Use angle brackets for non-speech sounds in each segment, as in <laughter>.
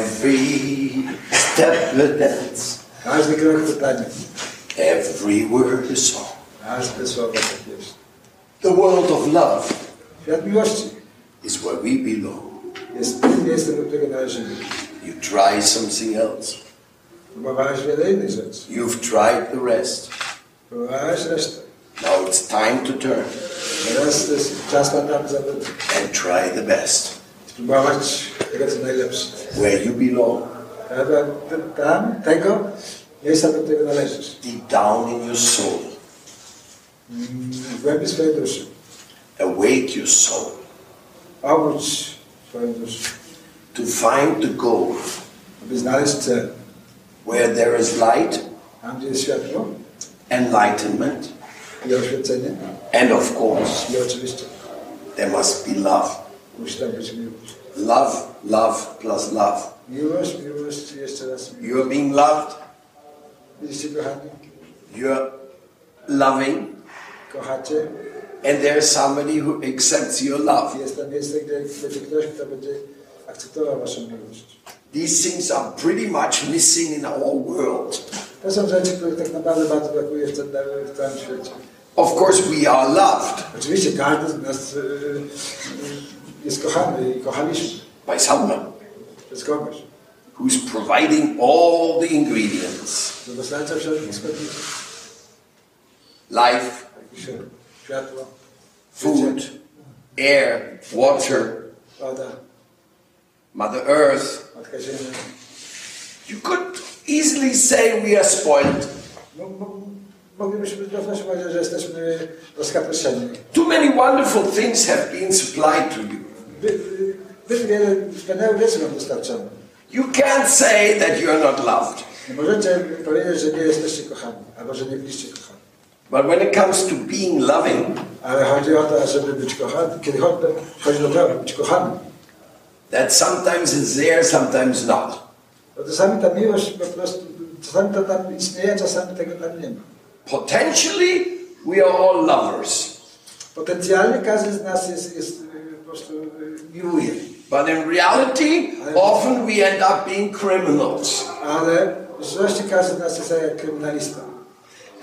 every step a dance, Każdy krok to taniec. every word a song. Każde słowo to pieśń. The world of love Świat miłości is where we belong. jest tym miejscem, do którego należymy. You try something else, Próbowałeś wiele innych rzeczy. you've tried the rest. Próbowałeś resztę. Now it's time to turn Teraz to jest czas na tam zawody. and try the best. Spróbować tego, co najlepsze. Where you belong, Prawda? T- Tam, tego miejsca, do którego należysz. deep down in your soul. W głębi swojej duszy. Awake your soul Obudź swoją duszę, to find the goal. aby znaleźć cel. Where there is light, Tam, gdzie jest światło enlightenment, i oświecenie. and of course, I oczywiście there must be love. musi tam być miłość. Love, love plus love. Miłość, miłość i jeszcze raz miłość. You are being loved, Widzicie, kochani? you're loving, Kochacie? and there is somebody who accepts your love. Jest tam miejsce, gdzie będzie ktoś, kto będzie akceptował waszą miłość. These things are pretty much missing in our world. To są rzeczy, których tak naprawdę bardzo brakuje w, tym, w całym świecie. Of course, we are loved Oczywiście każdy z nas y, y, jest kochany i kochaliśmy by someone przez kogoś. who's providing all the ingredients To dostarcza wszelkich składników. life, Jakieś Światło, food, air, water, woda, Mother Earth. matka ziemia. You could easily say we are spoiled. No, mo, moglibyśmy w pewnym że jesteśmy rozkapryszeni. Too many wonderful things have been supplied to you. Wy- wy- Zbyt wiele wspaniałych rzeczy nam dostarczono. You can't say that you are not loved. Nie możecie powiedzieć, że nie jesteście kochani, albo że nie byliście kochani. But when it comes to being loving, Ale chodzi o to, żeby być kochany. Kiedy chodzi, chodzi o to, aby być kochany, that sometimes is there, sometimes not. to czasami ta miłość po prostu, czasami to tam istnieje, czasami tego tam nie ma. Potentially, we are all lovers. Potencjalnie każdy z nas jest, jest y, po prostu y, miłuje, But in reality, often we end up being criminals. ale w rzeczywistości każdy z nas jest jak kryminalista.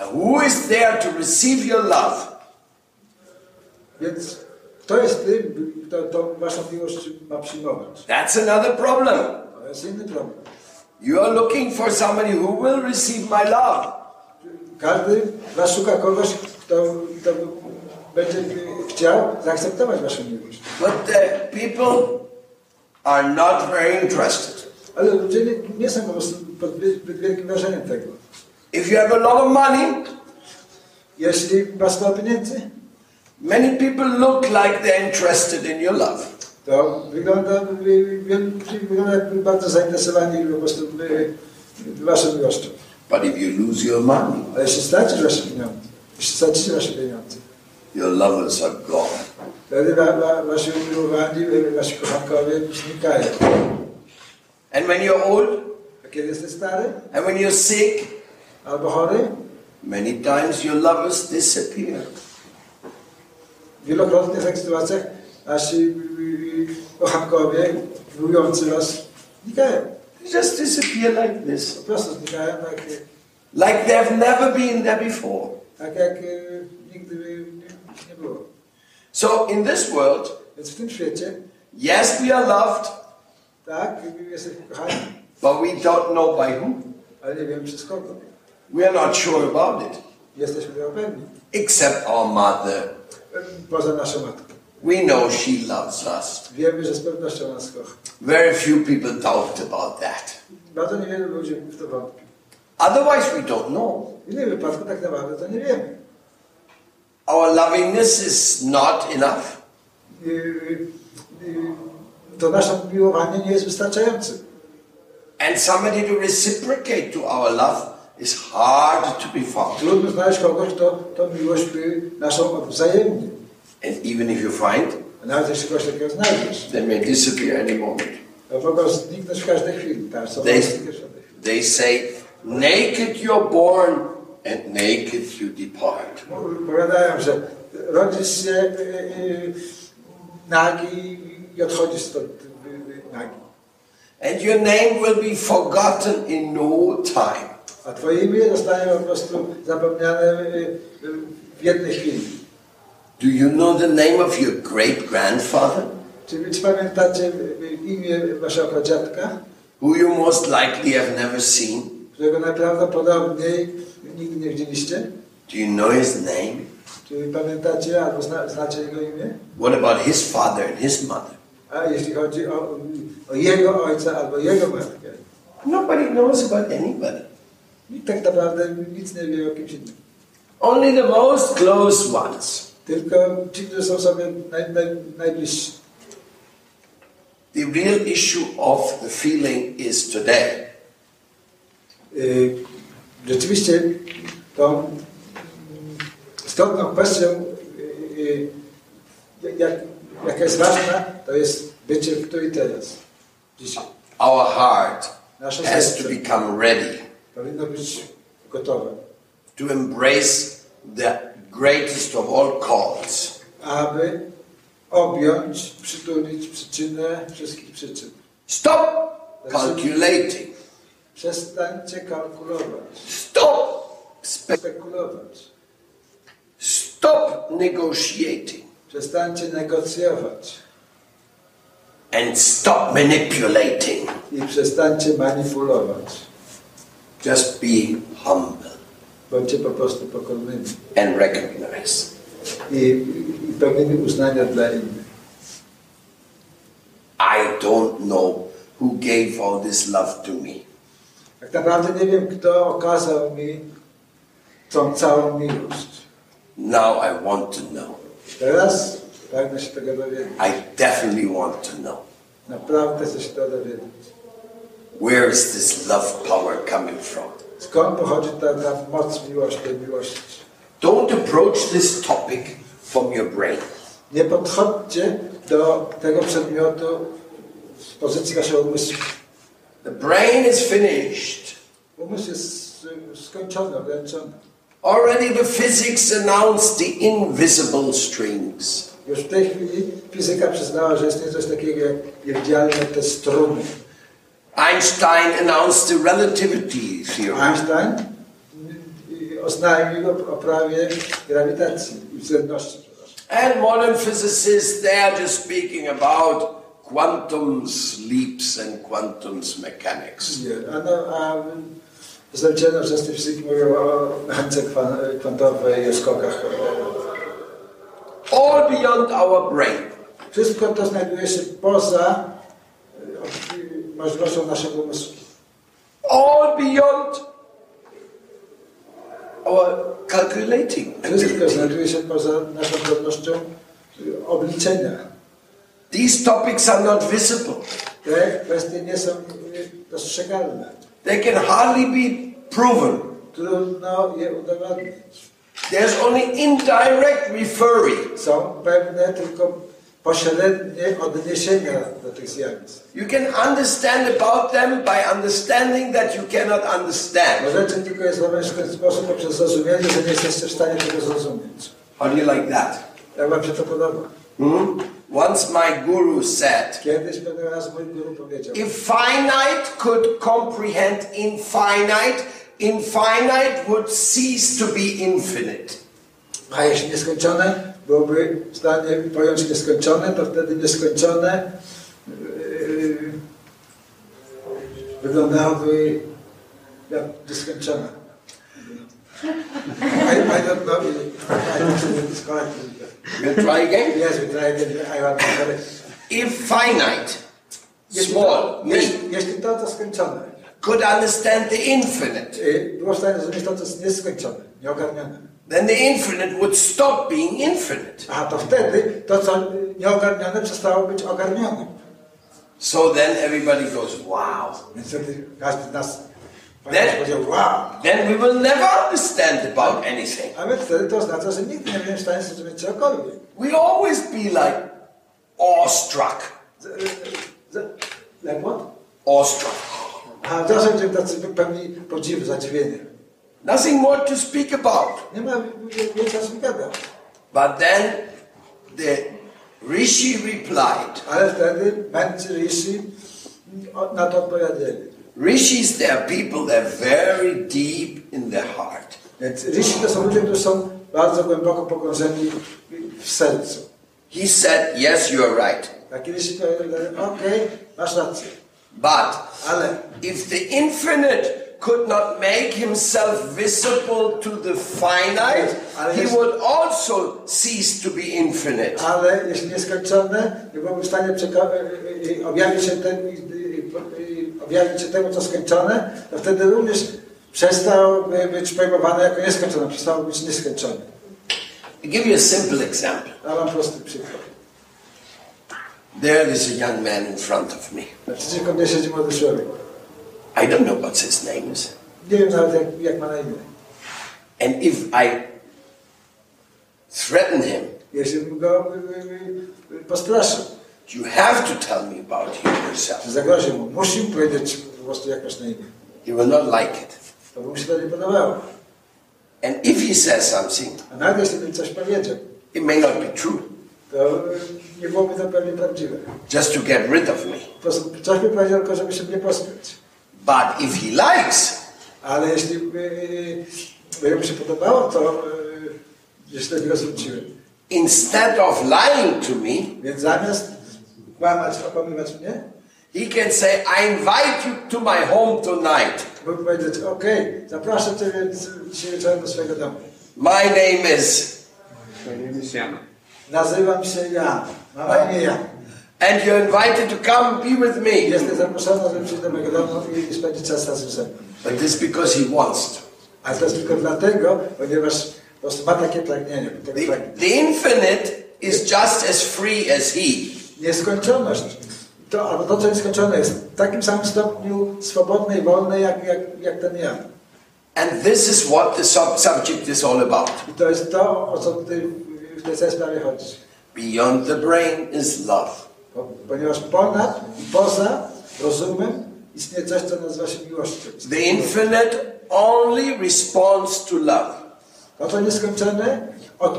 And who is there to receive your love? Więc kto jest tym, kto tą waszą miłość ma przyjmować? That's another problem. To jest inny problem. You are looking for somebody who will receive my love. Każdy z was szuka kogoś, kto, kto będzie chciał zaakceptować waszą miłość. But the people are not very interested. Ale ludzie nie, nie są po prostu pod zbyt zbyt wielkim wrażeniem tego. If you have a lot of money, Jeśli was ma pieniędzy, many people look like they're interested in your love. to wygląda, wy- wielu ludzi wygląda jakby bardzo zainteresowani po prostu wy- waszą miłością. But if you lose your money, Ale jeśli stracisz wasze pieniądze, jeśli stracicie wasze pieniądze, your lovers are gone. wtedy wa, wa, wasi umiłowani, wy- wasi kochankowie znikają. And when you're old A kiedy jesteś stary and when you're sick, albo chory, many times your lovers disappear. wielokrotnie w takich sytuacjach nasi y, y, kochankowie, miłujący was, znikają. They just disappear like Po this. prostu znikają tak. y, Like they've never been there before. Tak jak e, nigdy nie, nie było. So in this world, Więc w tym świecie, yes, we are loved, tak, jesteśmy kochani, but we don't know by whom. ale nie wiem przez kogo. We are not sure about it. Jesteśmy tego pewni. Except our mother. E, Poza naszą matką. We know she loves us. Wiemy, że z pewnością nas kocha. Very few people doubt about that. Bardzo niewielu ludzi w to wątpi. Otherwise, we don't know. W innym wypadku tak naprawdę to nie wiemy. Our lovingness is not enough. E, e, y, To nasze miłowanie nie jest wystarczające. And somebody to reciprocate to our love is hard to be found. Trudno znaleźć kogoś, kto tą miłość by naszą wzajemnie. And even if you find, A nawet jeśli kogoś takiego znajdziesz, they may disappear any moment. to mogą zniknąć w każdej chwili. Tak, są They, zniknąć w każdej chwili. they say, naked you're born and naked you depart. Powiadają, że rodzisz się y, y, e, nagi i odchodzisz stąd y, y, nagi. And your name will be forgotten in no time. A Twoje imię zostanie po prostu zapomniane y, y, w jednej chwili. Do you know the name of your great grandfather? Czy, wy- czy pamiętacie y, imię Waszego dziadka, Who you most likely have never seen? którego najprawdopodobniej nigdy nie widzieliście? Do you know his name? Czy pamiętacie albo zna, znacie jego imię? What about his father and his mother? A jeśli chodzi o, o jego ojca albo jego matkę, Nobody knows about anybody. nikt tak naprawdę nic nie wie o kimś innym. Only the most close ones. Tylko ci, którzy są sobie naj, naj, najbliżsi. The real issue of the feeling is today. Y, Rzeczywiście tą istotną kwestią, y, y, jak, jaka jest ważna, to jest bycie w tu i teraz, dzisiaj. Our heart Nasze has serce. to become ready Powinno być gotowe, to embrace the greatest of all calls. aby objąć, przytulić przyczynę wszystkich przyczyn. Stop That's it. calculating. Przestańcie kalkulować, Stop spe- spekulować, stop negotiating przestańcie negocjować and stop manipulating. i przestańcie manipulować. Just be humble Bądźcie po prostu pokornymi. and recognize i, i pełnymi uznania dla innych. I don't know who gave all this love to me. Tak naprawdę nie wiem, kto okazał mi tą całą miłość. Now I want to know. Teraz pragnę się tego dowiedzieć. I definitely want to know. Naprawdę chcę się tego dowiedzieć. Where is this love power coming from? Skąd pochodzi ta, ta moc miłości, tej miłości? Don't approach this topic from your brain. Nie podchodźcie do tego przedmiotu z pozycji waszego umysłu. The brain is finished. Umysł jest y, skończony, ograniczony. Already the physics announced the invisible strings. Już w tej chwili fizyka przyznała, że jest coś takiego jak niewidzialne te struny. Einstein announced the relativity theory. Einstein oznajmił o o prawie grawitacji i względności. przepraszam. And modern physicists, they are just speaking about quantum leaps and quantum mechanics. Nie, A, no, a przedstawiciele nowoczesnej fizyki mówią o mechanice kwa- kwantowej, o skokach. All beyond our brain. Wszystko to znajduje się poza e, o- możliwością naszego umysłu. All beyond our calculating Wszystko ability. znajduje się poza naszą zdolnością e, obliczenia. These topics are not visible. Te kwestie nie są e, dostrzegalne. They can hardly be proven. Trudno je udowodnić. There's only indirect referring. są pewne tylko pośrednie odniesienia do tych zjawisk. You can understand about them by understanding that you cannot understand. Możecie tylko je zrozumieć w ten sposób poprzez zrozumienie, że nie jesteście w stanie tego zrozumieć. How do you like that? Jak wam się to podoba? Hmm? Once my guru said, Kiedyś pewien raz mój guru powiedział, if finite could comprehend infinite, infinite would cease to be infinite. a jeśli nieskończone byłoby w stanie pojąć nieskończone, to wtedy nieskończone yy, wyglądałoby jak nieskończone. I, I don't know, I don't know, it's correct. We'll try again. Yes, we try again. I want to correct. If finite, small, me, jeśli, jeśli to, co skończone, could understand the infinite, y, było w stanie zrozumieć to, co jest nieskończone, nieogarnione. then the infinite would stop being infinite. A to wtedy to, co nieogarnione, przestało być ogarnione. So then everybody goes, wow. Więc wtedy każdy z nas Then- powiedział, wow! Then we will never understand about anything. A więc wtedy to oznacza, że nigdy nie będziemy w stanie zrozumieć czegokolwiek. We always be like awestruck. Z- y, z- Jak what? Awestruck. A zawsze będziemy tacy pełni podziwu, zadziwienia. Nothing more to speak about. Nie ma więcej czasu gadać. But then the rishi replied, Ale wtedy Mędrcy Rishi o- na to odpowiedzieli. Rishis, they are people that are very deep in their heart. Więc rysi to są ludzie, którzy są bardzo głęboko pogrążeni w sercu. He said, Yes, you are right. Taki rysi to okej, masz rację, But ale if the infinite could not make himself visible to the finite, he would also cease to be infinite. Ale jeśli nieskończone, nie byłbym w stanie przeka- y, y, y, objawić, się ten, y, y, y, objawić się temu, co skończone, to wtedy również przestałby być pojmowany jako nieskończony, przestał być nieskończony. I'll give you a simple example. Ja mam prosty przykład. There is a young man in front of me. Naprzeciwko Znaczy, mnie siedzi młody człowiek. I don't know what his name is. Nie wiem nawet, jak, jak ma na imię. And if I threaten him, Jeśli bym go y, y, y, postraszył, you have to tell me about him czy yourself. zagroził mu, musi mu powiedzieć po prostu, jak masz na imię. He will not like it. To by mu się to nie podobało. And if he says something, A nawet jeśli bym coś powiedział, it may not be true, to y, nie byłoby to pewnie prawdziwe. just to get rid of me. Po prostu Coś mi powiedział tylko, żeby się mnie pozbyć. But if he likes, Ale jeśli by, by mu się podobało, to yy, jeśli do niego zwróciłem. instead of lying to me, Więc zamiast kłamać, okłamywać mnie, he can say, I invite you to my home tonight. mógł powiedzieć, okej, zapraszam Cię więc dzisiaj wieczorem do swojego domu. My name is, Nazywam się Jan, mam na imię Jan. and you're invited to come be with me. Jestem zaproszony, żeby przyjść do mojego domu i spędzić czas razem ze mną. But this because he wants to. Ale to jest tylko dlatego, ponieważ po prostu ma takie pragnienie. Tego The, pragnie. the infinite is just as free as he. Nieskończoność. To, albo to, co nieskończone jest w takim samym stopniu swobodne i wolne, jak, jak, jak ten ja. And this is what the sub- subject is all about. I to jest to, o co tutaj w tej całej sprawie chodzi. Beyond the brain is love. Bo, ponieważ ponad i poza rozumem istnieje coś, co nazywa się miłością. The infinite only responds to love. To, co nieskończone,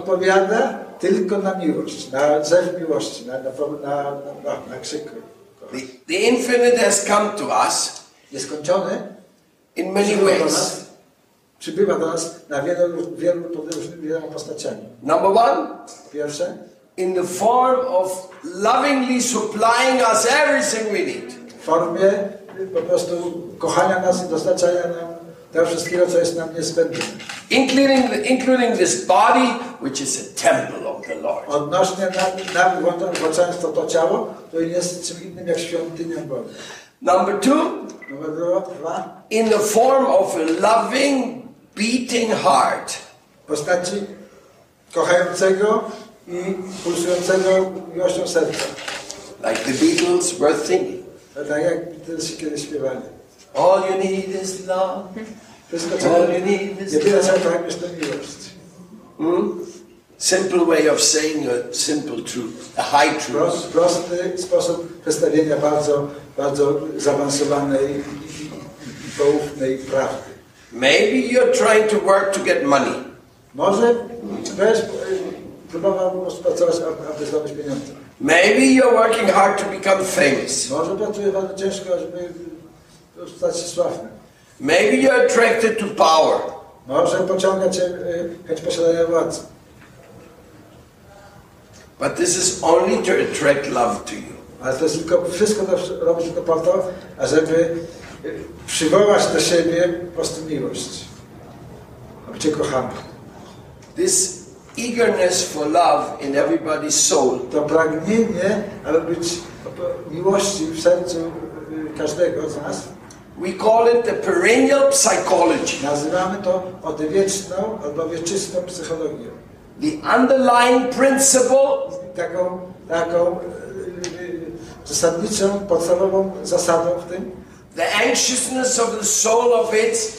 odpowiada tylko na miłość, na zew miłości, na, na, na, na, na, na krzyk. The, the infinite has come to us Nieskończony in many przybywa do nas, ways. przybywa do nas na wielu, wielu, pod różnymi wieloma postaciami. Number one, Pierwsze, in the form of lovingly supplying us everything we need. w formie y, po prostu kochania nas i dostarczania nam tego wszystkiego, co jest nam niezbędne. Including, including this body, which is a temple of the Lord. Odnośnie nam, nam włą- włączając w to, to ciało, to jest czym innym jak świątynią Boga. Number two, Numer dwa, dwa, in the form of a loving, beating heart. w postaci kochającego i pulsującego miłością serca. Like the Beatles were thinking. To Tak jak Beatlesi kiedyś śpiewali. All you need is love. Wszystko, co All you need is jedyne, co love. kocham, jest to miłość. Hmm? Simple way of saying a simple truth, a high truth. Prost, prosty sposób przedstawienia bardzo, bardzo zaawansowanej i, i, i poufnej prawdy. Maybe you're trying to work to get money. Może też y, próbował po prostu pracować, aby aby zdobyć pieniądze. Maybe you're working hard to become famous. Może pracuje bardzo ciężko, żeby stać się sławnym. Maybe you're attracted to power. Może pociąga cię y, chęć posiadania władzy. But this is only to attract love to you. Ale to jest tylko, wszystko to robi tylko po to, ażeby y, przywołać do siebie po prostu miłość. Aby cię kochano. This eagerness for love in everybody's soul To pragnienie, aby być po- miłości w sercu y, każdego z nas, We call it the perennial psychology, nazywamy to odwieczną albo wieczystą psychologią. the underlying principle taką, taką y, y, zasadniczą, podstawową zasadą w tym the anxiousness of the soul of its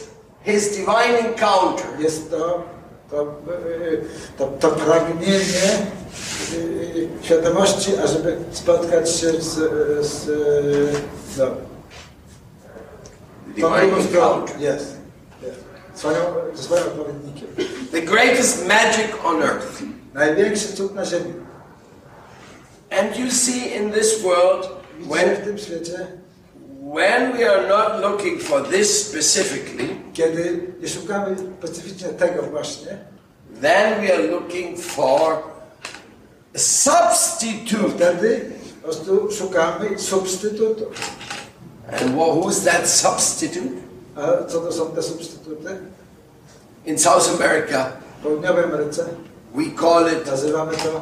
his divine encounter. jest to, to, y, to, to pragnienie y, świadomości, ażeby spotkać się z, z no, The tą divine drugą stroną. encounter. Jest. jest. Swoją, ze swoim odpowiednikiem. The greatest magic on earth. Największy cud na ziemi. And you see in this world Widzicie when w tym świecie, When we are not looking for this specifically, Kiedy nie szukamy specyficznie tego właśnie, then we are looking for a substitute. wtedy po prostu szukamy substytutu. And wha- who's that substitute? A co to są te substytuty? In South America, W południowej Ameryce we call it nazywamy to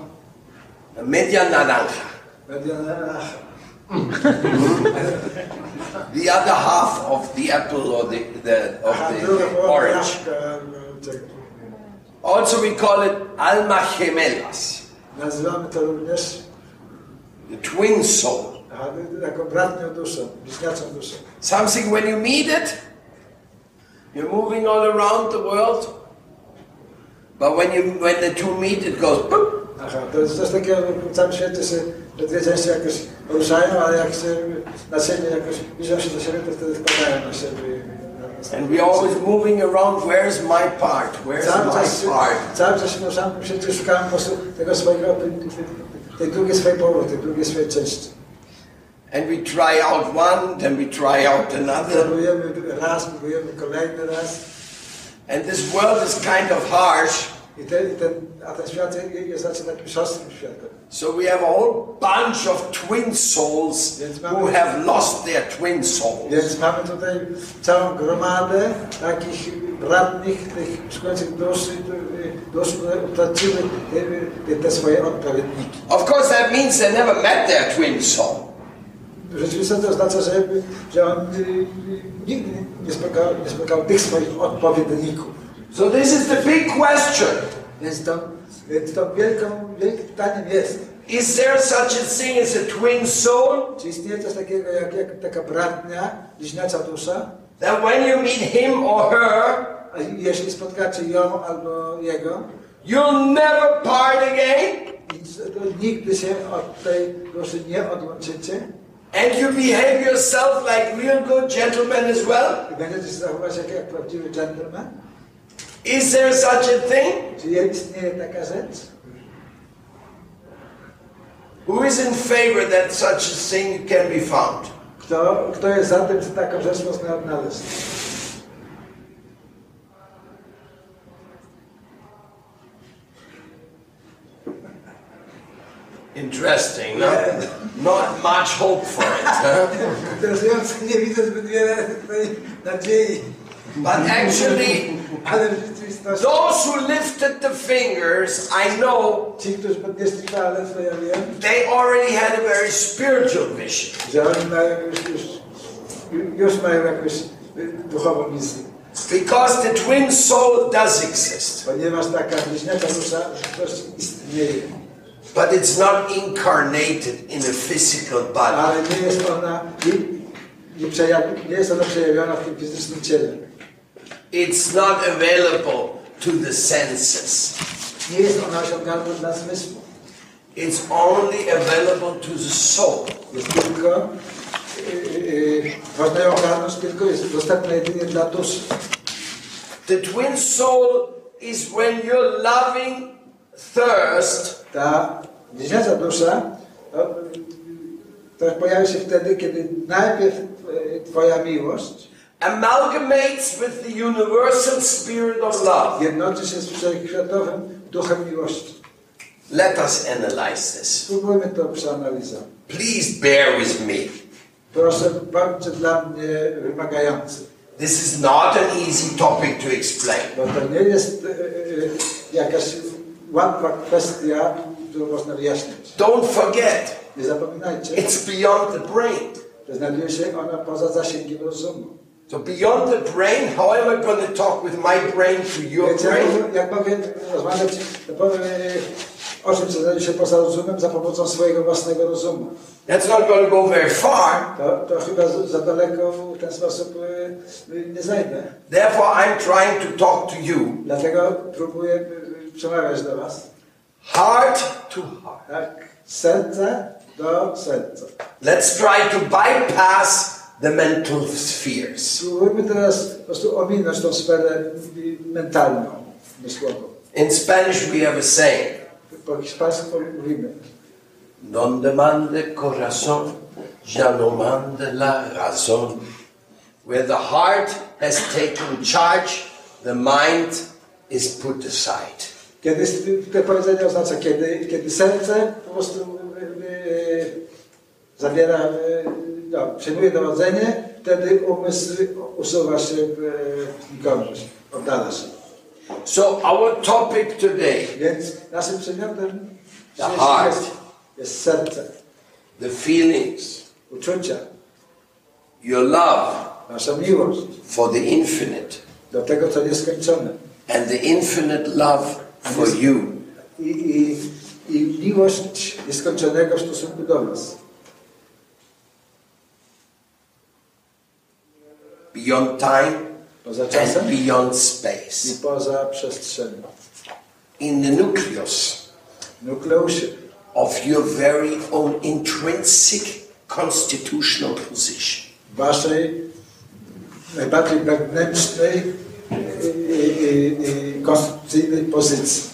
a media naranja, mediana the other half of the apple or the, the a of druga the połowa orange. jaszka, albo tego. Also, we call it alma gemelas, Nazywamy to również the twin soul. a, jako bratnią duszę, bliźniaczą duszę. Something when you meet it, you're moving all around the world. But when you when the two meet, it goes. boop. Aha, to jest coś takiego, że w całym świecie się te dwie części jakoś ruszają, ale jak się na siebie jakoś bliżą się do siebie, to wtedy wpadają na siebie. And we're always moving around. Where's my part? Where's Cały my czas, się- part? cały czas się ruszamy, przecież szukamy po prostu tego swojego, tej drugiej swojej połowy, tej drugiej swojej części. And we try out one, then we try out another. Próbujemy raz, próbujemy kolejny raz And this world is kind of harsh, i ten, i ten, a ten świat je- jest znacznie takim szorstkim światem. so we have a whole bunch of twin souls Yes, ma'am. who have lost their twin souls. Więc mamy tutaj całą gromadę takich bratnich, tych szkodzących duszy, dusz, które utraciły te, no, te swoje odpowiedniki. Of course, that means they never met their twin soul. W rzeczywistości to oznacza, że, że on y, y, nigdy nie spotkał, nie spotkał tych swoich odpowiedników. So this is the big question. Więc to, więc to wielką, wielkim pytaniem jest, Is there such a thing as a twin soul czy istnieje coś takiego jak, jak taka bratnia, bliźniacza dusza, that when you meet him or her, a jeśli spotkacie ją albo jego, you'll never part again? i z- to nigdy się od tej duszy nie odłączycie, And you behave yourself like real good gentlemen as well? I będziecie się zachowywać jak, jak prawdziwy gentleman? Is there such a thing? Czy istnieje taka rzecz? Who is in favor that such a thing can be found? Kto, kto jest za tym, czy taką rzecz można odnaleźć? Interesting, no? Not much hope for it. huh? Interesujące, nie widzę zbyt wiele tutaj nadziei, <laughs> But actually, ale w rzeczywistości those who lifted the fingers, I know ci, którzy podnieśli palec, to ja wiem, they already had a very spiritual vision. że oni mają już, już, już mają jakąś y, duchową misję. Because the twin soul does exist, Ponieważ taka bliźniacza dusza też istnieje, but it's not incarnated in a physical body. ale nie jest ona, nie, nie, przejaw, nie jest ona przejawiona w tym fizycznym ciele. It's not available to the senses. Nie jest ona osiągalna dla zmysłu. It's only available to the soul. Jest tylko, yy, yy, można ją ogarnąć tylko, jest dostępna jedynie dla duszy. The twin soul is when your loving thirst Ta bliźniacza dusza to, to pojawia się wtedy, kiedy najpierw yy, twoja miłość amalgamates with the universal spirit of love. jednoczy się z wszechświatowym duchem miłości. Let us analyze this. Spróbujmy to przeanalizować. Please bear with me. Proszę, bądźcie dla mnie wymagający, This is not an easy topic to explain. bo No to nie jest yy, yy, jakaś łatwa kwestia, którą można wyjaśnić. Don't forget, Nie zapominajcie. it's beyond the brain. że znajduje się ona poza zasięgiem rozumu. So beyond the brain, how am I going to talk with my brain to your Więc jak, brain? mogę- jak mogę rozmawiać to powiem, e, o czym co znajduje się poza rozumem za pomocą swojego własnego rozumu, That's not going to go very far. to, to chyba za- za daleko w ten sposób e, e, nie zajdę. Therefore, I'm trying to talk to you Dlatego próbuję e, e, przemawiać do Was. heart to heart. Tak? Z Serca do serca. Let's try to bypass the mental spheres. Spróbujmy teraz po prostu ominąć tą sferę e, mentalną, myślową. In Spanish, we have a saying: Po hiszpańsku mówimy, "Donde manda el corazón, Janomandala Razon, where the heart has taken charge, the mind is put aside. Kiedy te powiedzenie oznacza, kiedy, kiedy serce po prostu y, y, zawiera, y, no, przyjmuje dowodzenie, wtedy umysł usuwa się w gorąż, oddala się. So our topic today, Więc naszym przedmiotem The dzisiejszym heart. jest, jest serce, the feelings, uczucia, your love nasza miłość for the infinite do tego, co nieskończone. and the infinite love for you. I, i, I miłość nieskończonego w stosunku do nas. beyond time Poza czasem and beyond i space. poza przestrzenią. In the nucleus W nukleusie. of your very own intrinsic constitutional position. waszej najbardziej wewnętrznej y, y, y, y, konstytucyjnej pozycji.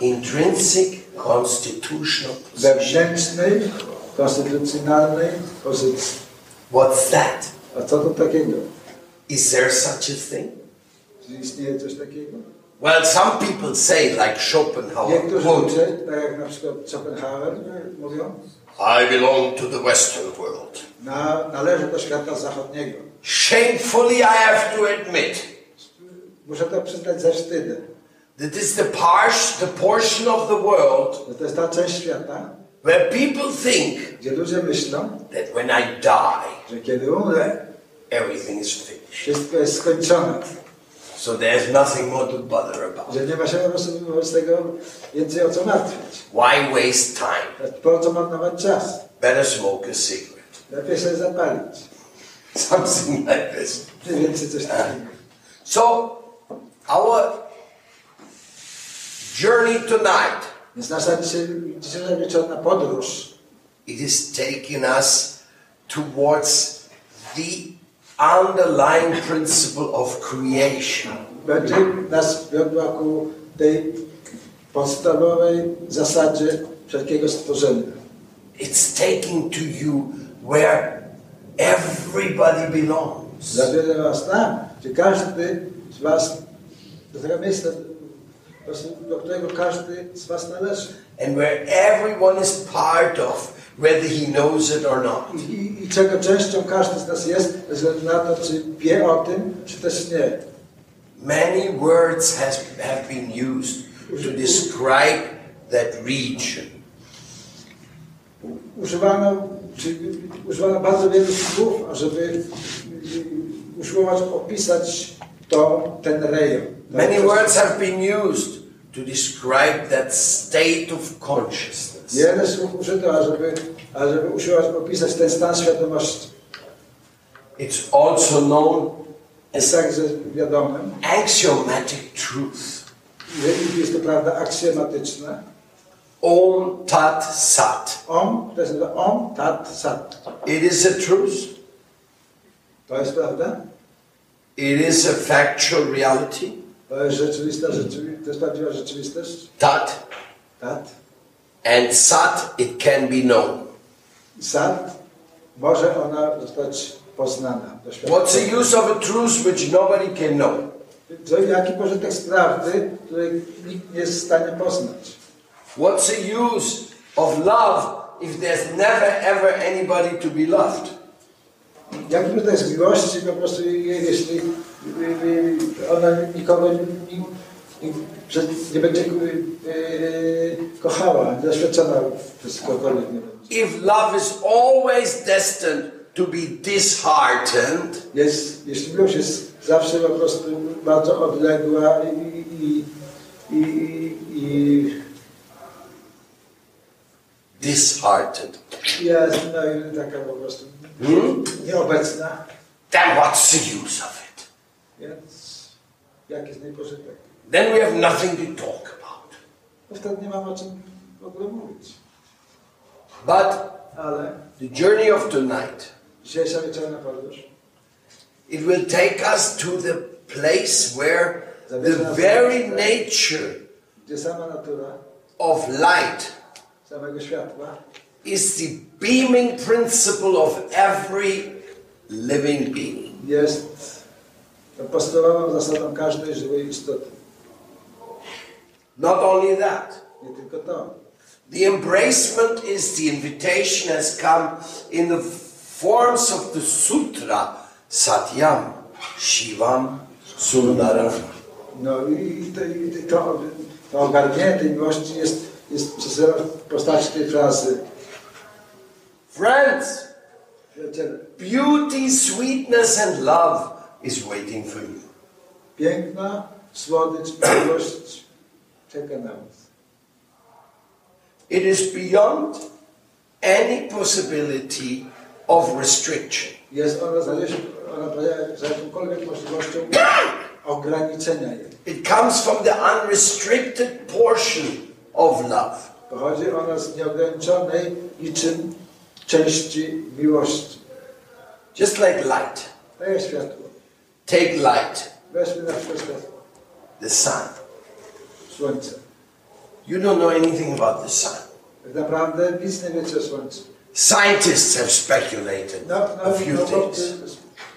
Intrinsic constitutional position. Wewnętrznej, konstytucjonalnej pozycji. What's that? A co to takiego? Is there such a thing? Czy istnieje coś takiego? Well, some people say, like Schopenhauer, Niektórzy quote, ludzie, tak jak na przykład Schopenhauer, y, mówią, I belong to the Western world. na, należy do świata zachodniego. Shamefully, I have to admit Muszę to przyznać ze wstydem, that this is the, pars- the portion of the world że to jest ta część świata, where people think gdzie ludzie myślą, that when I die, że kiedy umrę, everything is finished. wszystko jest skończone. So there's nothing more to bother about. że nie ma się po prostu wobec tego więcej o co martwić. Why waste time? Po co marnować czas? Better smoke a cigarette. <laughs> Lepiej sobie zapalić. Something like this. Mniej więcej coś takiego. So, our journey tonight, Więc nasza dzisie- dzisiejsza wieczorna podróż it is taking us towards the underlying principle of creation. będzie nas wiodła ku tej podstawowej zasadzie wszelkiego stworzenia. It's taking to you where everybody belongs. Zabiorę was tam, gdzie każdy z was do tego miejsca, po prostu do którego każdy z was należy. and where everyone is part of, whether he knows it or not. I, I czego częścią każdy z nas jest, bez względu na to, czy wie o tym, czy też nie. Many words has, have been used to describe that region. Używano, czy, używano bardzo wielu słów, ażeby y, usiłować opisać to, ten rejon. Many To- words have been used to describe that state of consciousness. Wiele słów użyto, ażeby, ażeby usiłować opisać ten stan świadomości. It's also known Jest tak, as także wiadomym, axiomatic truth. że jest to prawda aksjomatyczna. Om tat sat. Om, to jest nazywa om, tat, sat. It is a truth. To jest prawda? It is a factual reality. To jest rzeczywista rzeczywistość, to jest prawdziwa rzeczywistość. Tat Tat. and sat, it can be known. Sad może ona zostać poznana. What's the doświadczona. use of a truth which nobody can know? Co, jaki pożytek z prawdy, której nikt nie jest w stanie poznać? What's the use of love if there's never ever anybody to be loved? Jaki pożytek z miłości, po prostu je- jeśli y, y, ona nikogo nie, nie, że nie będzie y, y, kochała, nie doświadczona przez kogokolwiek nie będzie. If love is always destined to be disheartened, Jest, jeśli miłość jest zawsze po prostu bardzo odległa i, i, i, i, i disheartened, jest no, i taka po prostu hmm? nieobecna, then what's the use of it? Więc jaki jest jej pożytek? Then we have nothing to talk about. No wtedy nie mam o czym w ogóle mówić. But Ale the journey of tonight, dzisiejsza wieczorna podróż it will take us to the place where the very nature gdzie sama natura of light samego światła is the beaming principle of every living being. jest podstawową zasadą każdej żywej istoty. Not only that, Nie tylko to. the embracement is the invitation has come in the forms of the sutra Satyam, Shivam, Sundaram. No i to, i to, to ogarnięcie tej miłości jest, jest przesyłane w postaci tej frazy. Friends, Przyjaciele, beauty, sweetness, and love is waiting for you. Piękna słodycz i miłość czeka na nas. It is beyond any possibility of restriction. Jest ona za, ona pojawia- za jakąkolwiek możliwością ograniczenia jej. It comes from the unrestricted portion of love. Pochodzi ona z nieograniczonej niczym części miłości. Just like light. To jest światło. Take light, Weźmy na przykład światło. the sun. Słońce. You don't know anything about the sun. Tak naprawdę nic nie wiecie o słońcu. Scientists have speculated No, no, a few no, things.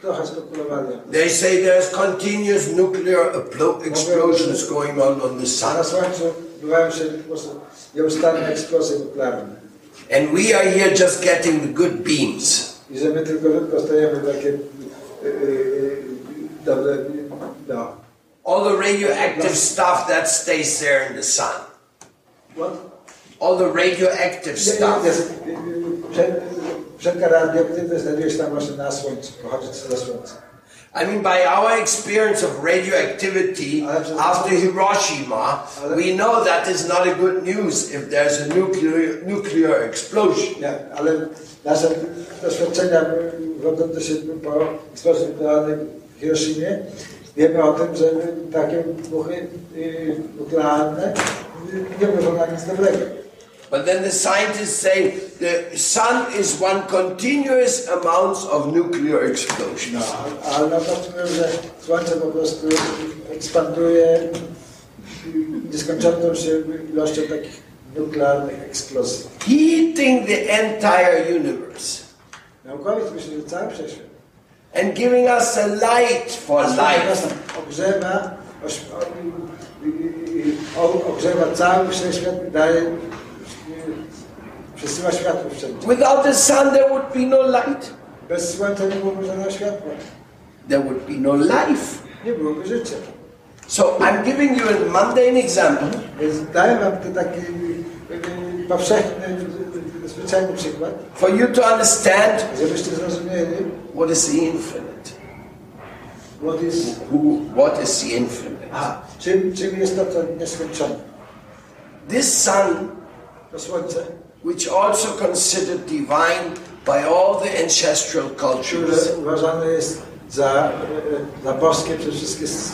trochę spekulowali. They say there's continuous nuclear uplo- explosions going on on the A na sun. słońcu odbywają się po prostu nieustanne eksplozje nuklearne. And we are here just getting the good beams. I że my tylko dostajemy takie y, y, y, dobre, no. All the radioactive stuff that stays there in the sun. What? All the radioactive Nie, nie, stuff. nie, jest, y, y, przed- Wszelka radioaktywność znajduje się tam właśnie na słońcu, pochodzi ze słońca. I mean, by our experience of radioactivity after Hiroshima, we know that is not a good news if there's a nuclear, nuclear explosion. Nie, ale nasze doświadczenia rodzące się po eksplozji nuklearnej w Hiroshimie, wiemy o tym, że takie wybuchy y, nuklearne y, nie mówią nam nic dobrego. But then the scientists say the sun is one continuous amount of nuclear No, explosions. ale na przykład mówią, że Słońce po prostu ekspanduje y, nieskończoną się ilością takich nuklearnych eksplozji. Heating the entire universe Naukowiec myśli, że cały wszechświat and giving us a light for life. Ogrzewa, oś, o, i- i- i- o, ogrzewa cały wszechświat, daje, y, przesyła światło wszędzie. Without the sun, there would be no light. Bez słońca nie byłoby żadnego światła, There would be no life. nie byłoby życia. So I'm giving you a mundane example. Więc daję wam ten taki y, y, powszechny, y, y, zwyczajny przykład, for you to understand żebyście zrozumieli, what is the infinite. what is, Who, what is the infinite? a, czym, czym jest to, co nieskończone. This sun, To słońce, which also considered divine by all the ancestral które cultures, uważane jest za, y, y, za boskie przez wszystkie s-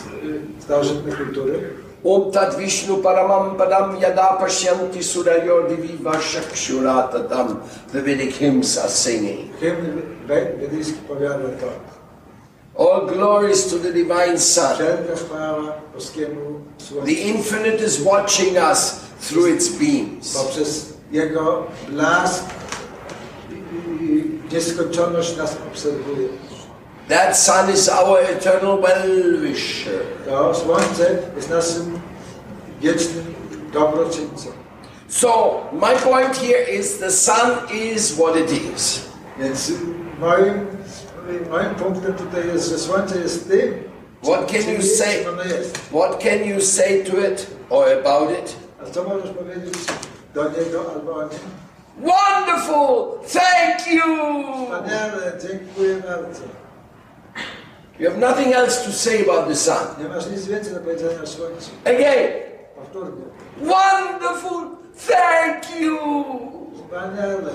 y, starożytne kultury, Om Tat Vishnu Paramam Padam Yada Pashyanti Surayor Divi Vashakshura Tadam, the Vedic hymns are singing. Hymn we- wedyjski powiada to. All glories to the divine sun. Wszelka chwała boskiemu The słońcu infinite is watching us through its beams. poprzez jego blask i- i nieskończoność nas obserwuje. That sun is our eternal well-wisher. To słońce jest naszym wiecznym dobroczyńcą. So, my point here is the sun is what it is. Więc moim, moim punktem tutaj jest, że słońce jest tym, What can czym you jest, say? czym ono jest. What can you say to it or about it? A co możesz powiedzieć do niego albo o nim? Wonderful! Thank you! Wspaniale, dziękuję bardzo. You have nothing else to say about the sun. Nie masz nic więcej do powiedzenia o słońcu. Again, Powtórnie. wonderful! Thank you! Wspaniale.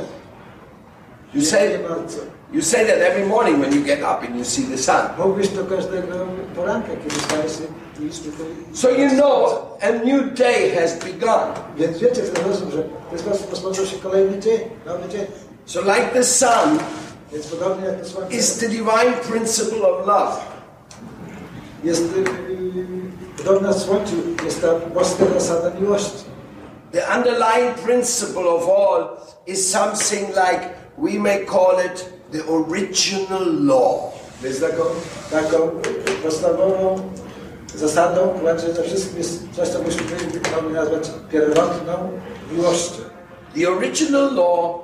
You say, Dziękuję bardzo. you say that every morning when you get up and you see the sun. Mówisz to każdego poranka, kiedy stajesz się i tutaj. So you know a new day has begun. Więc wiecie w ten sposób, że w ten sposób rozpoczął się kolejny dzień, nowy dzień. So like the sun Więc podobnie jak to słońce is jest, the divine principle of love. jest y, y, podobna słońcu, jest ta boska zasada miłości. That The underlying principle of all is something like we may call it the original law. Więc taką, taką podstawową zasadą, która przede wszystkim jest coś, co byśmy mogli nazwać pierwotną miłością. The original law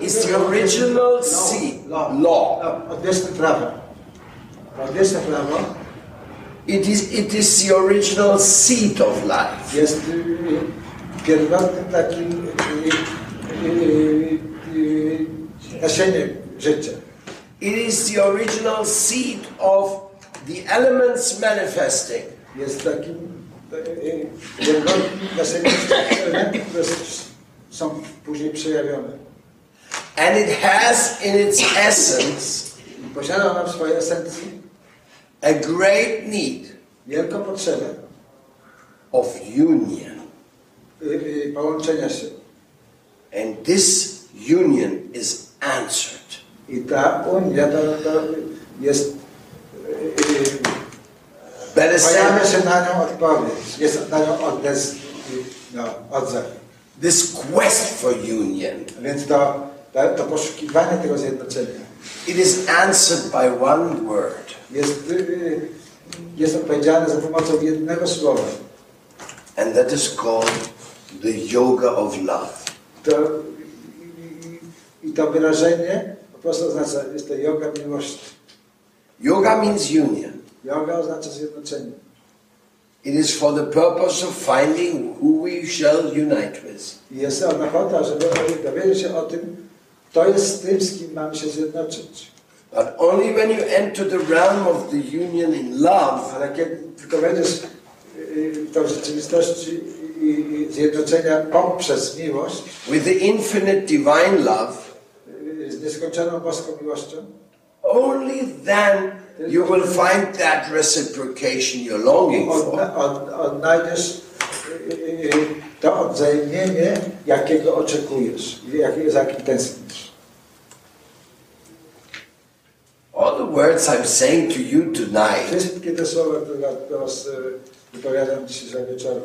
is the original seed, law. No, Odwieczne prawo. Odwieczne prawo It is, it is the original seed of life. jest y, y, pierwotnym takim y, y, y, y, nasieniem życia. It is the original seed of the elements manifesting. Jest takim y, y, pierwotnym nasieniem elementów, które s- są później przejawione. And it has in its essence Posiada ona w swojej esencji a great need wielką potrzebę of union. y, y, połączenia się. And this union is answered. I ta unia to, to jest, y, y, Better pojawia said, się na nią odpowiedź, jest na nią odez, y, no, odzew. this quest for union, Więc to, to, to poszukiwanie tego zjednoczenia it is answered by one word, jest, y, y, jest odpowiedzialne za pomocą jednego słowa. and that is called the yoga of love. To, y, y, y, I to wyrażenie po prostu oznacza, jest to yoga miłości. Yoga means union. Yoga oznacza zjednoczenie. It is for the purpose of finding who we shall unite with. I jest ona po to, żeby dowiedzieć się o tym, kto jest z tym, z kim mamy się zjednoczyć. But only when you enter the realm of the union in love Ale kiedy tylko będziesz y, tą rzeczywistości i, i zjednoczenia poprzez miłość, with the infinite divine love, y, z nieskończoną boską miłością, only then you will find that reciprocation you're longing for. odna- od, odnajdziesz y, y, y, to odwzajemnienie, jakiego oczekujesz, i jakiego, za jakim tęsknisz. All the words I'm saying to you tonight, Wszystkie te słowa, które dla- do Was y, wypowiadam dzisiaj wieczorem,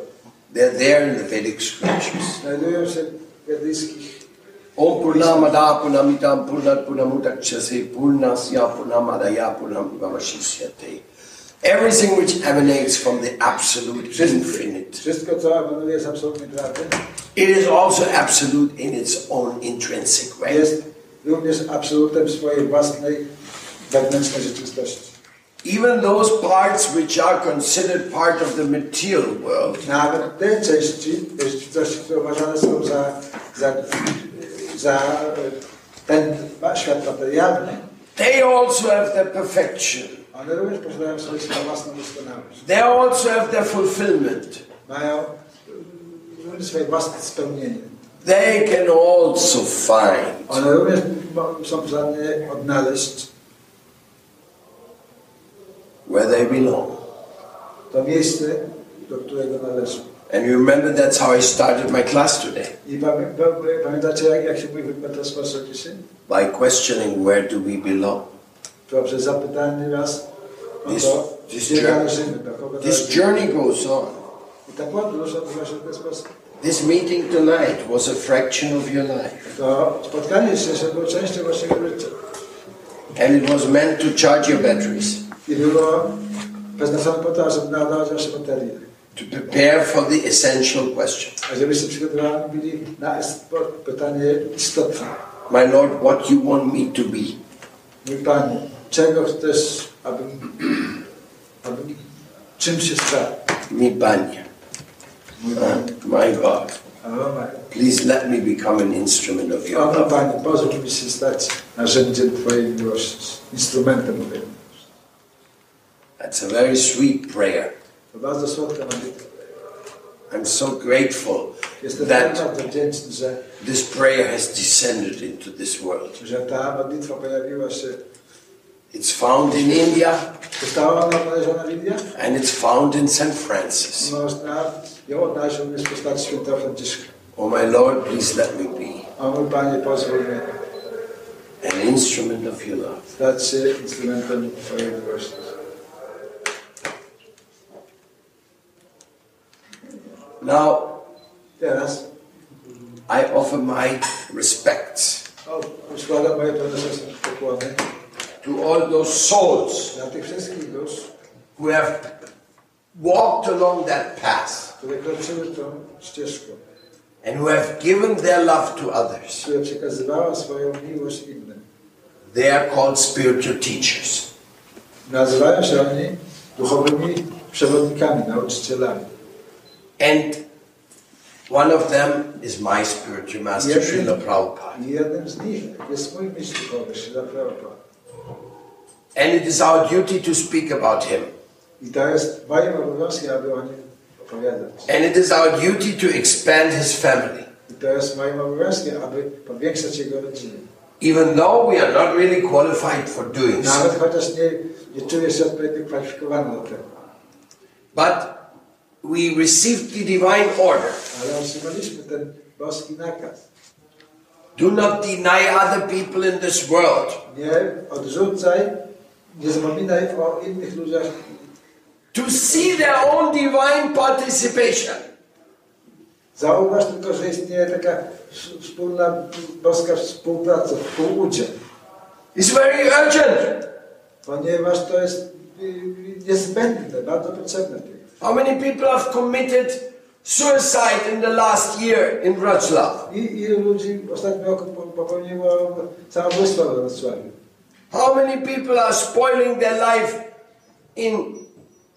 they're there in the Vedic scriptures. znajdują się w jadyjskich Om Purnamada Purnamitam Purnat Purnamudakshase Purnasya Purnamadaya Purnamivavashisyate. Everything which emanates from the absolute infinite. Wszystko, co emanuje z absolutnej prawdy, It is also absolute in its own intrinsic way. jest również absolutem swojej własnej wewnętrznej rzeczywistości. Even those parts which are considered part of the material world Nawet te części tej rzeczywistości, które uważane są za, za, za e, ten świat materialny, They also have their perfection. one również posiadają swoją swoją własną doskonałość. They also have their fulfillment. Mają również swoje własne spełnienie. They can also find One również mo- są w stanie odnaleźć where they belong. to miejsce, do którego należą. And you remember that's how I started my class today I pamię, pa- pamiętacie, jak, jak się mój wykład rozpoczął dzisiaj? by questioning where do we belong. Poprzez zapytanie was o This- to, this gdzie journey- należymy, do kogo This należymy. journey goes on. I ta podróż odbywa się w ten sposób. This meeting tonight was a fraction of your life. To spotkanie dzisiejsze było częścią waszego życia. And it was meant to charge your batteries, I było przeznaczone po to, żeby nadawać wasze baterie. to prepare for the essential question. A żebyście przygotowani byli na es- po- pytanie istotne. My Lord, what you want me to be? Mój Panie, czego chcesz, abym, abym czym się stał? Mi Banya. Mój Uh, Panie. my God. O, Maria. Please let me become an instrument of your Oto love. Panie, pozwól mi się stać narzędziem Twojej miłości, instrumentem Twojej miłości. That's a very sweet prayer. To bardzo słodka modlitwa. I'm so grateful Jestem that bardzo wdzięczny, że, this prayer has descended into this world. że ta modlitwa pojawiła się. It's found in India Została ona odnaleziona w Indiach? and it's found in St. Francis. Można ją odnaleźć również w postaci świętego Franciszka. Oh, my Lord, please let me be A mój Panie, pozwól mi an instrument of your love. stać się instrumentem Twojej miłości. Now, Teraz I offer my respects O, No, Składam moje pełnoletnie pokłony to all those souls dla tych wszystkich dusz, who have walked along that path które kroczyły tą ścieżką, and who have given their love to others. które przekazywała swoją miłość innym. They are called spiritual teachers. Nazywają się oni duchowymi przewodnikami, nauczycielami. And one of them is my spiritual master, Srila Prabhupada. I jednym z nich jest mój mistrz duchowy, Srila Prabhupada. And it is our duty to speak about him. I to jest moim obowiązkiem, aby o nim opowiadać. And it is our duty to expand his family. I to jest moim obowiązkiem, aby powiększać jego rodzinę. Even though we are not really qualified for doing so. Nawet chociaż nie, nie czuję się odpowiednio kwalifikowany do tego. But we received the divine order. Ale otrzymaliśmy ten boski nakaz. Do not deny other people in this world. Nie odrzucaj, nie zapominaj o innych ludziach, To see their own divine participation. Zauważ tylko, że istnieje taka ws- wspólna boska współpraca, współudział, It's very urgent. ponieważ to jest y, y, niezbędne, bardzo potrzebne. w tej- How many people have committed suicide in the last year in Wrocław? I ilu ludzi w ostatnim roku po- popełniło samobójstwo we Wrocławiu? How many people are spoiling their life in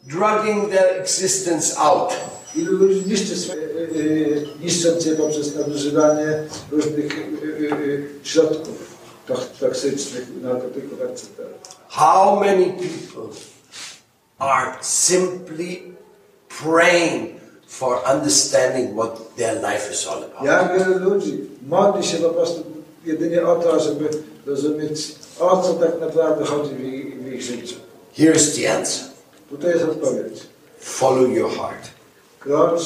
drugging their existence out? Ilu ludzi niszczy swoje, y, y, niszcząc je poprzez nadużywanie różnych y, y, y, środków toch- toksycznych, narkotyków, etc. How many people are simply praying for understanding what their life is all about? Jak wielu ludzi modli się po prostu jedynie o to, żeby rozumieć, o co tak naprawdę chodzi w ich, w ich życiu. Here's the answer Tutaj jest odpowiedź. follow your heart. Krocz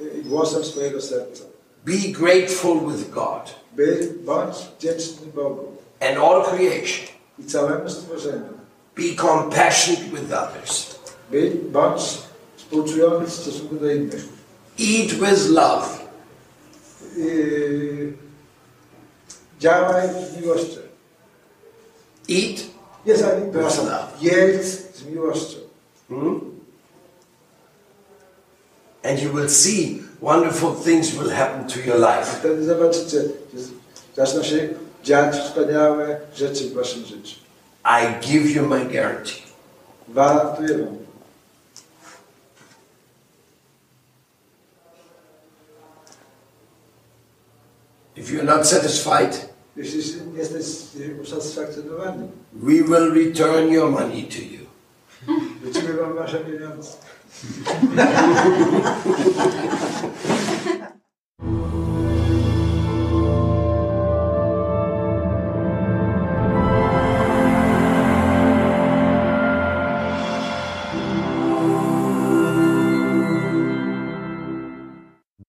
y, głosem swojego serca. Be grateful with God By, bądź wdzięczny Bogu and all creation. i całemu stworzeniu. Be compassionate with others. By, bądź współczujący w stosunku do innych. Eat with love. Yy, działaj z miłością. Eat. Nie za przepraszam, jedz z miłością. hmm? And you will see wonderful things will happen to your life. Wtedy zobaczycie, że z- zaczną się dziać wspaniałe rzeczy w waszym życiu. I give you my guarantee. Gwarantuję wam. If you're not satisfied, Jeśli się nie jesteś y, usatysfakcjonowani, we will return your money to you. wrócimy wam wasze pieniądze.